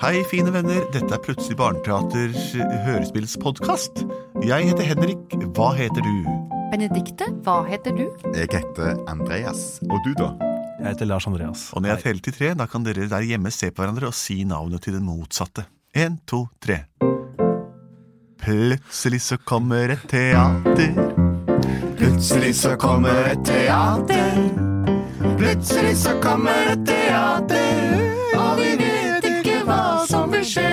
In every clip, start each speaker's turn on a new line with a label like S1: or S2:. S1: Hei, fine venner. Dette er Plutselig barneteater hørespillspodkast. Jeg heter Henrik. Hva heter du?
S2: Benedikte, hva heter du?
S3: Jeg heter Andreas. Og du, da?
S4: Jeg heter Lars Andreas.
S1: Og når jeg teller til tre, da kan dere der hjemme se på hverandre og si navnet til den motsatte. En, to, tre. Plutselig så kommer et teater.
S3: Plutselig så kommer et teater. Plutselig så kommer et teater. Og vi vet ikke hva som vil skje.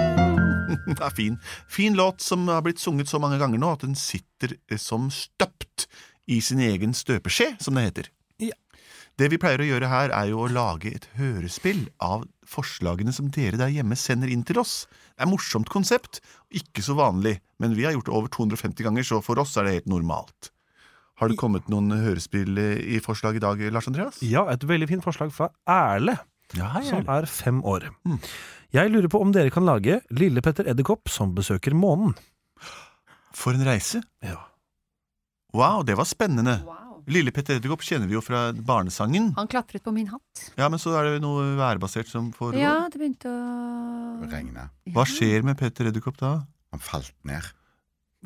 S1: Det er fin. Fin låt som har blitt sunget så mange ganger nå at den sitter eh, som støpt i sin egen støpeskje, som det heter.
S4: Ja.
S1: Det vi pleier å gjøre her, er jo å lage et hørespill av forslagene som dere der hjemme sender inn til oss. Det er et morsomt konsept, ikke så vanlig, men vi har gjort det over 250 ganger, så for oss er det helt normalt. Har det kommet noen hørespill eh, i forslag i dag, Lars Andreas?
S4: Ja, et veldig fint forslag fra Erle,
S1: Ja,
S4: som er fem år.
S1: Mm.
S4: Jeg lurer på om dere kan lage Lille Petter Edderkopp som besøker månen.
S1: For en reise.
S4: Ja.
S1: Wow, det var spennende.
S2: Wow.
S1: Lille Petter Edderkopp kjenner vi jo fra barnesangen.
S2: Han klatret på min hatt.
S1: Ja, men så er det jo noe værbasert som foregår.
S2: Ja, det begynte å
S3: Regnet.
S1: Hva skjer med Petter Edderkopp da?
S3: Han falt ned.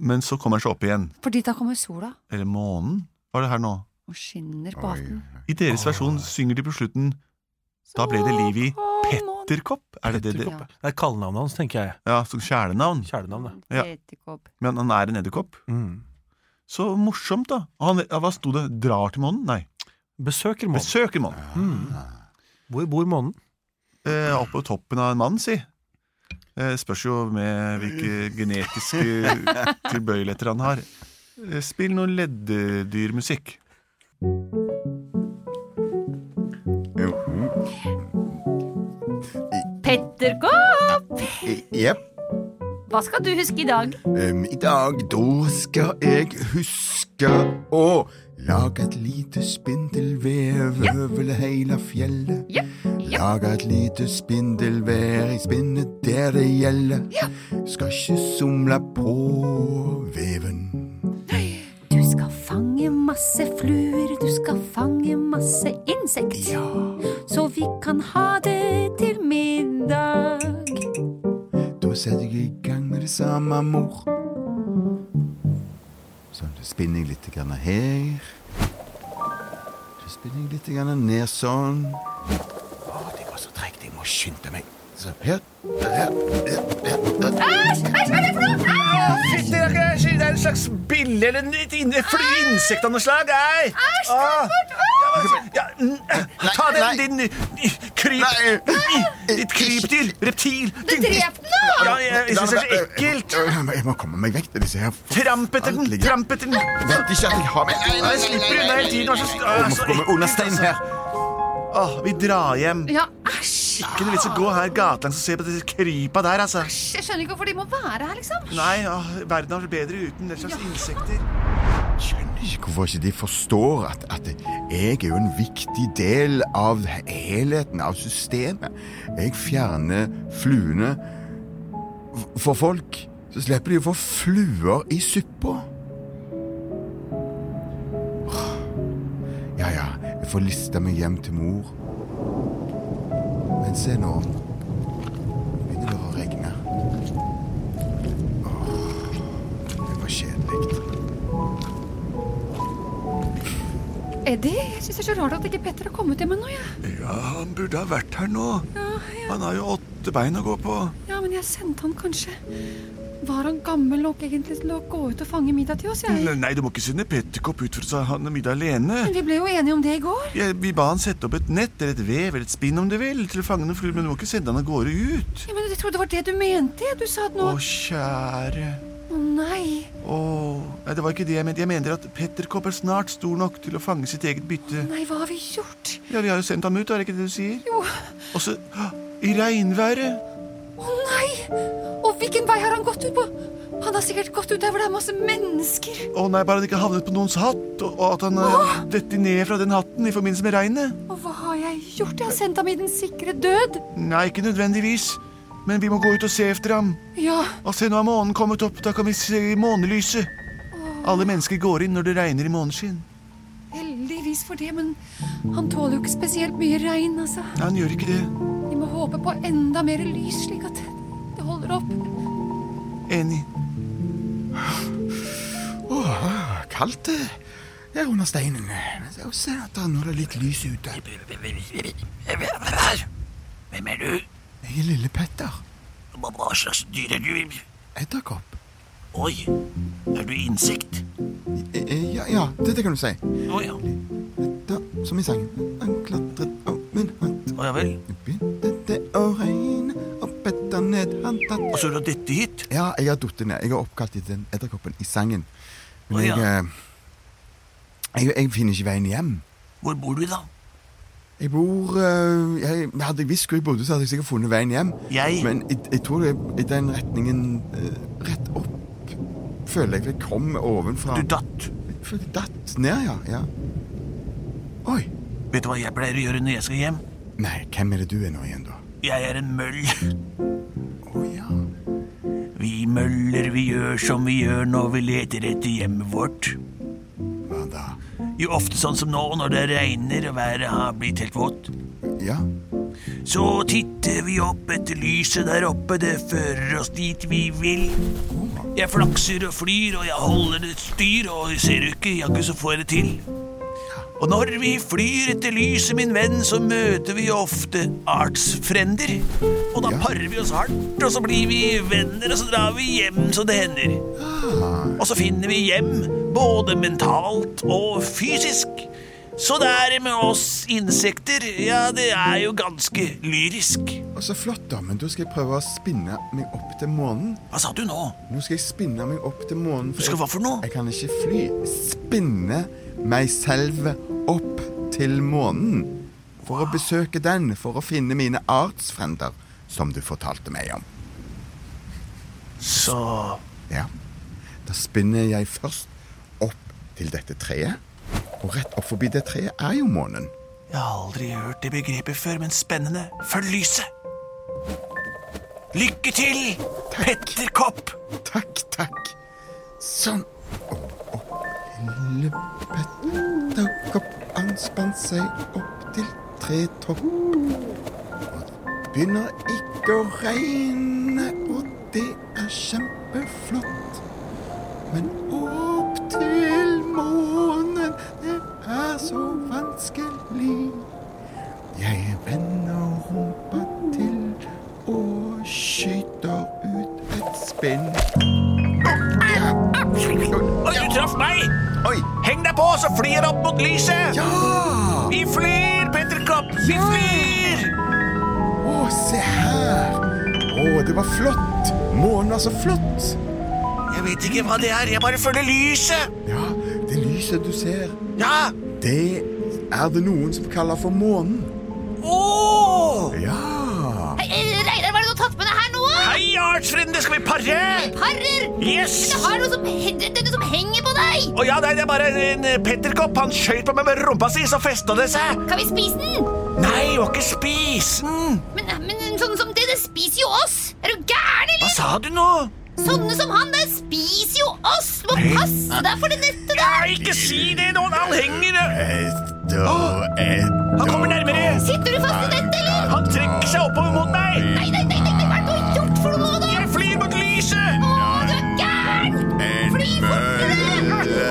S1: Men så kommer han seg opp igjen.
S2: Fordi da kommer sola
S1: Eller månen? Var det her nå?
S2: og skinner på
S3: Oi.
S2: hatten.
S1: I deres
S4: Åh.
S1: versjon synger de på slutten Da ble det liv i
S2: Petter.
S1: Edderkopp. Er det det det?
S2: Ja.
S4: Det er kallenavnet hans, tenker jeg.
S1: Ja, som kjælenavn.
S4: Kjælenavnet.
S1: Ja. Men han er en edderkopp.
S4: Mm.
S1: Så morsomt, da. Og Han, ja, hva sto det? Drar til månen? Nei,
S4: Besøker månen.
S1: besøker månen.
S4: Mm. Hvor bor månen?
S1: Eh, opp på toppen av en mann, si. Eh, spørs jo med hvilke genetiske tilbøyeligheter han har. Eh, spill noe leddedyrmusikk.
S3: Jo.
S2: Petterkopp!
S3: I- Jepp.
S2: Hva skal du huske i dag?
S3: Um, I dag, da skal jeg huske å lage et lite spindelvev over hele fjellet.
S2: Ja, ja.
S3: Laga et lite spindelvær, jeg spinner der det gjelder. Skal ikke somle på veven.
S2: Du skal fange masse fluer, du skal fange masse insekt.
S3: Ja,
S2: Så vi kan ha det til middag.
S3: da setter jeg i gang med det samme, mor. Sånn, da spinner jeg litt grann her. Så spinner jeg litt grann ned sånn. Å, det går så tregt, jeg må skynde meg. Så her, her, her, her, her.
S4: Det er, en slags bille eller et insekt av noe slag. Ah. Æsj!
S3: Ta den, nei.
S4: din kryp... Ditt krypdyr! Reptil!
S2: Drep den, da!
S4: jeg
S3: Jeg må- Jeg må komme meg vekk til disse her.
S4: Tramp etter den! Tramp etter den!
S3: Vent ikke at jeg har meg
S4: Nei, jeg slipper unna hele tiden. Vær så altså. snill.
S3: Jeg må komme under steinen her.
S1: Åh, vi drar hjem.
S2: Ja, æsj!
S1: Ikke noe vits i å gå her gatelangs og se på disse krypa der, altså.
S2: Jeg skjønner ikke hvorfor de må være her, liksom.
S1: Nei, åh, verden har vært bedre uten den slags insekter.
S3: Skjønner ikke hvorfor ikke de forstår at, at jeg er jo en viktig del av helheten, av systemet. Jeg fjerner fluene f- for folk. Så slipper de å få fluer i suppa. Åh. Ja, ja, jeg får lista meg hjem til mor. Men se nå. Nå begynner det å regne. Åh, det var kjedelig.
S2: Eddie, jeg syns det er så rart at ikke Petter har kommet hjem ennå, jeg.
S1: Ja, han burde ha vært her nå.
S2: Ja, ja,
S1: Han har jo åtte bein å gå på.
S2: ja, men jeg sendte han kanskje Var han gammel nok egentlig til å gå ut og fange middag til oss? Jeg?
S1: Nei, du må ikke sende Petterkopp ut for å ha middag alene.
S2: Men vi ble jo enige om det i går.
S1: Jeg, vi ba han sette opp et nett eller et vev eller et spinn om du vil, til å fange noen fluer, men du må ikke sende han av gårde ut.
S2: Ja, men Jeg trodde det var det du mente. Du sa at nå
S1: Å,
S2: Å
S1: kjære.
S2: nei.
S1: Å, nei, det var ikke det jeg mente. Jeg mener at Petterkopp er snart stor nok til å fange sitt eget bytte.
S2: Nei, hva har vi gjort?
S1: Ja, vi har jo sendt ham ut, er det ikke det du sier?
S2: Jo.
S1: Og så Hå! I regnværet!
S2: Å nei! Og hvilken vei har han gått ut på? Han har sikkert gått ut der hvor det er masse mennesker.
S1: Å nei, bare han ikke havnet på noens hatt, og, og at han eh, detter ned fra den hatten i forbindelse med regnet.
S2: Og hva har jeg gjort? Jeg har sendt ham i den sikre død.
S1: Nei, ikke nødvendigvis. Men vi må gå ut og se etter ham.
S2: Ja.
S1: Og se, nå er månen kommet opp, da kan vi se månelyset. Alle mennesker går inn når det regner i måneskinn.
S2: Heldigvis for det, men han tåler jo ikke spesielt mye regn, altså.
S1: Nei, han gjør ikke det.
S2: Vi må håpe på på enda mer lys, slik at det holder opp.
S1: Enig.
S3: Åh, kaldt det er under steinen. Men se, se at da, nå er det litt lys ute.
S5: Hvem er du?
S3: Jeg er lille Petter.
S5: Hva hva slags dyr er du?
S3: Edderkopp.
S5: Oi, er du insekt?
S3: Eh, eh, Ja, ja, dette kan du si.
S5: Å ja.
S3: Da, som i sangen. Han klatret opp min hånd.
S5: Å ja vel.
S3: Det begynte det å regne, og Petter ned han tatt.
S5: Og så er det dette hit.
S3: Ja, jeg har datt ned. Jeg har oppkalt etter den edderkoppen i sangen. Men
S5: Å, ja.
S3: jeg, eh, jeg Jeg finner ikke veien hjem.
S5: Hvor bor du, da?
S3: Jeg bor eh, jeg, Hadde jeg visst hvor jeg bodde, så hadde jeg sikkert funnet veien hjem.
S5: Jeg-
S3: Men jeg, jeg tror det er i den retningen eh, rett opp Føler jeg jeg kom ovenfra.
S5: Du datt.
S3: Jeg føler jeg datt ned, ja. ja. Oi.
S5: Vet du hva jeg pleier å gjøre når jeg skal hjem?
S3: Nei, hvem er det du er nå igjen, da?
S5: Jeg er en møll.
S3: Å ja.
S5: Vi møller, vi gjør som vi gjør når vi leter etter hjemmet vårt.
S3: Hva da?
S5: Jo ofte sånn som nå, når det regner og været har blitt helt vått.
S3: Ja.
S5: Så titter vi opp etter lyset der oppe, det fører oss dit vi vil. Jeg flakser og flyr, og jeg holder et styr, og ser du ikke, jaggu så får jeg det til. Og når vi flyr etter lyset, min venn, så møter vi ofte artsfrender. Og da
S3: Ja.
S5: parer vi oss hardt, og så blir vi venner, og så drar vi hjem så det hender. Og så finner vi hjem, både mentalt og fysisk. Så det er med oss insekter, ja, det er jo ganske lyrisk.
S3: Og så flott, da. Men da skal jeg prøve å spinne meg opp til månen.
S5: Hva sa du nå?
S3: Nå skal jeg spinne meg opp til månen.
S5: Du skal
S3: jeg,
S5: hva for noe?
S3: Jeg kan ikke fly. Spinne meg selv opp til månen. For å besøke den, for å finne mine artsfrender, som du fortalte meg om.
S5: Så
S3: Ja. Da spinner jeg først opp til dette treet. Og rett opp forbi det treet er jo månen.
S5: Jeg har aldri hørt det begrepet før, men spennende. Følg lyset. Lykke til, Petter Kopp.
S3: Takk, takk. Sånn. Og opp lille petterkopp anspant seg opp til tretopp. Og begynner ikke å regne, og det er kjempeflott. Men opp til månen, det er så vanskelig. Jeg vender rumpa til og skyter ut et spinn.
S5: Oi, du traff meg!
S3: Oi!
S5: Heng deg på, så flyr jeg opp mot lyset.
S3: Ja!
S5: Vi flyr, Petter Kopp. Vi flyr!
S3: Å, se her! Å, det var flott! Månen var så flott!
S5: Jeg vet ikke hva det er, jeg bare følger lyset.
S3: Ja, det lyset du ser,
S5: Ja!
S3: det er det noen som kaller for månen.
S5: Åh!
S3: Ja!
S6: Hei, eh, Reidar, hva er det du har tatt med deg her nå?
S5: Hei, artsfrende, skal vi pare?
S6: Harrer!
S5: Yes!
S6: Men det har noe som, he- det det er noe som henger på deg!
S5: Å ja, nei, det er bare en eh, Petterkopp. Han skjøt på meg med rumpa si, så festa det seg.
S6: Kan vi spise den?
S5: Nei, må ikke spise den.
S6: Men, men sånne som det, det spiser jo oss! Er du
S5: Hva
S6: gæren, eller?
S5: sa du nå?
S6: Sånne som han, det spiser jo oss! Du må passe deg for det nettet der!
S5: Nei, ikke si det nå. Han henger eh,
S3: Etter,
S5: Ah, Han kommer nærmere.
S6: Sitter du fast i nettet, eller?
S5: Han trekker seg oppover mot meg.
S6: Nei, nei, nei, nei, nei, hva er det du har gjort for noe nå, da?
S5: Jeg flyr mot lyset.
S6: Å, du er gæren! Fly fortere!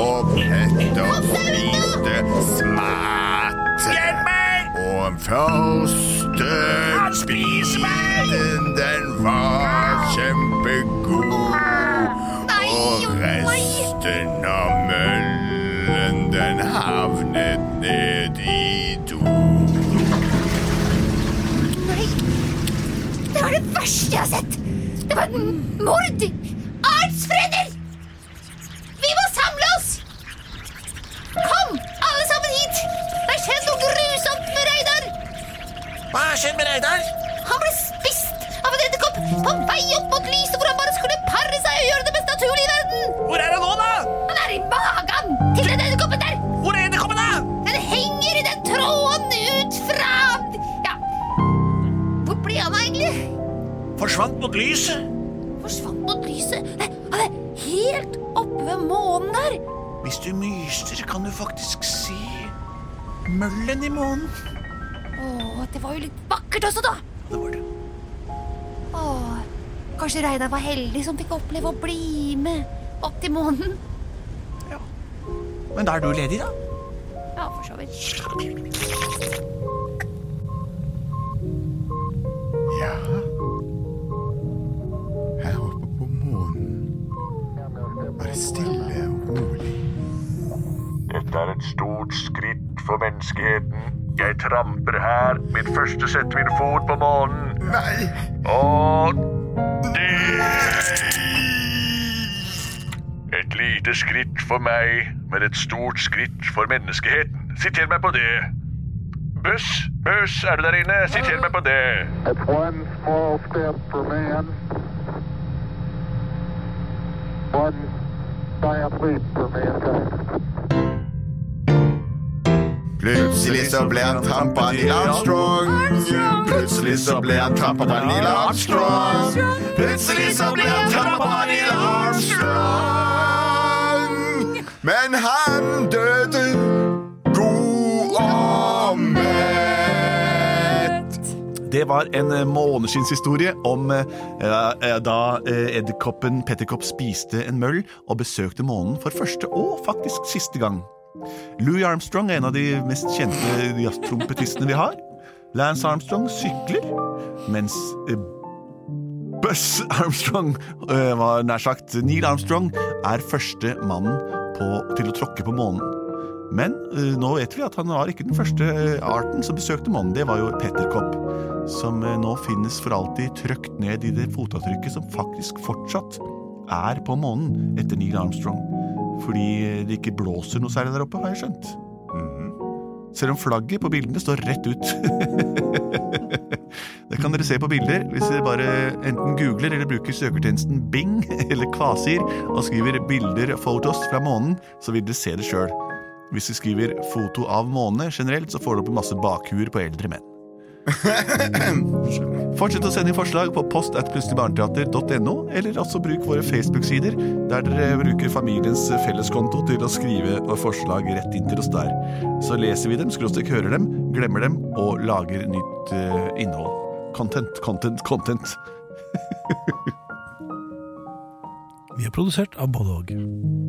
S3: opp etter
S6: Kom deg unna!
S3: smatt.
S5: Hjelp meg!
S3: Og første
S5: Han spiser meg!
S3: Den, den var kjempegod.
S6: Nei,
S3: Og
S6: jo, nei.
S3: resten av møllen, den havnet ned i do.
S6: Nei, det var det verste jeg har sett! Det var et mord! Artsfrender! Vi må samle oss! Kom, alle sammen hit! Det har skjedd noe grusomt med Reidar!
S5: Hva har skjedd med Reidar?
S6: Han ble spist av en edderkopp på vei opp mot lyset, hvor han bare skulle pare seg og gjøre det mest naturlige i verden!
S5: Hvor er han nå, da?
S6: Han er i magen til den edderkoppen der!
S5: Hvor er edderkoppen, da?
S6: Den henger i den tråden ut fra Ja, hvor ble han av, egentlig?
S5: Forsvant mot lyset.
S6: forsvant mot lyset. Nei, han er helt oppe ved månen der.
S5: Hvis du myster, kan du faktisk se møllen i månen.
S6: Å, det var jo litt vakkert også, da.
S5: Det
S6: Stakkars Reidar var heldig som fikk oppleve å bli med opp til månen.
S4: Men da er du ledig, da?
S6: Ja, for så vidt.
S3: Ja Her oppe på månen var det stille og rolig.
S7: Dette er et stort skritt for menneskeheten. Jeg tramper her. Mitt første setter min fot på månen.
S3: Nei!
S7: Og det Et lite skritt for meg, men et stort skritt for menneskeheten. Siter meg på det. Buss, buss, er du der inne? Siter meg på det.
S8: It's one small step for man, one giant leap for mankind.
S3: Plutselig så ble han trampa av Neil Armstrong. Plutselig så ble han trampa av Neil Armstrong. Plutselig så ble han trampa av Neil Armstrong. Men han døde god og mett.
S1: Det var en eh, måneskinnshistorie om eh, eh, da eh, edderkoppen Petterkopp spiste en møll og besøkte månen for første og faktisk siste gang. Louis Armstrong er en av de mest kjente jazztrompetistene vi har. Lance Armstrong sykler, mens eh, Buzz Armstrong eh, var nær sagt Neil Armstrong er første mannen på, til å tråkke på månen. Men eh, nå vet vi at han var ikke den første eh, arten som besøkte månen. Det var jo Petterkopp, som eh, nå finnes for alltid trøkt ned i det fotavtrykket som faktisk fortsatt er på månen etter Neil Armstrong. Fordi eh, det ikke blåser noe særlig der oppe, har jeg skjønt. Mhm. Selv om flagget på bildene står rett ut. det kan dere se på bilder hvis dere bare enten googler eller bruker søkertjenesten Bing eller Kvasir og skriver 'bilder photos fra månen', så vil dere se det sjøl. Hvis du skriver 'foto av måne' generelt, så får du opp en masse bakhuer på eldre menn. Fortsett å sende inn forslag på post at plutseligbarneteater.no, eller også bruk våre Facebook-sider, der dere bruker familiens felleskonto til å skrive og forslag rett inn til oss der. Så leser vi dem, skråstrek hører dem, glemmer dem og lager nytt eh, innhold. Content, content, content.
S9: Vi er produsert av både og.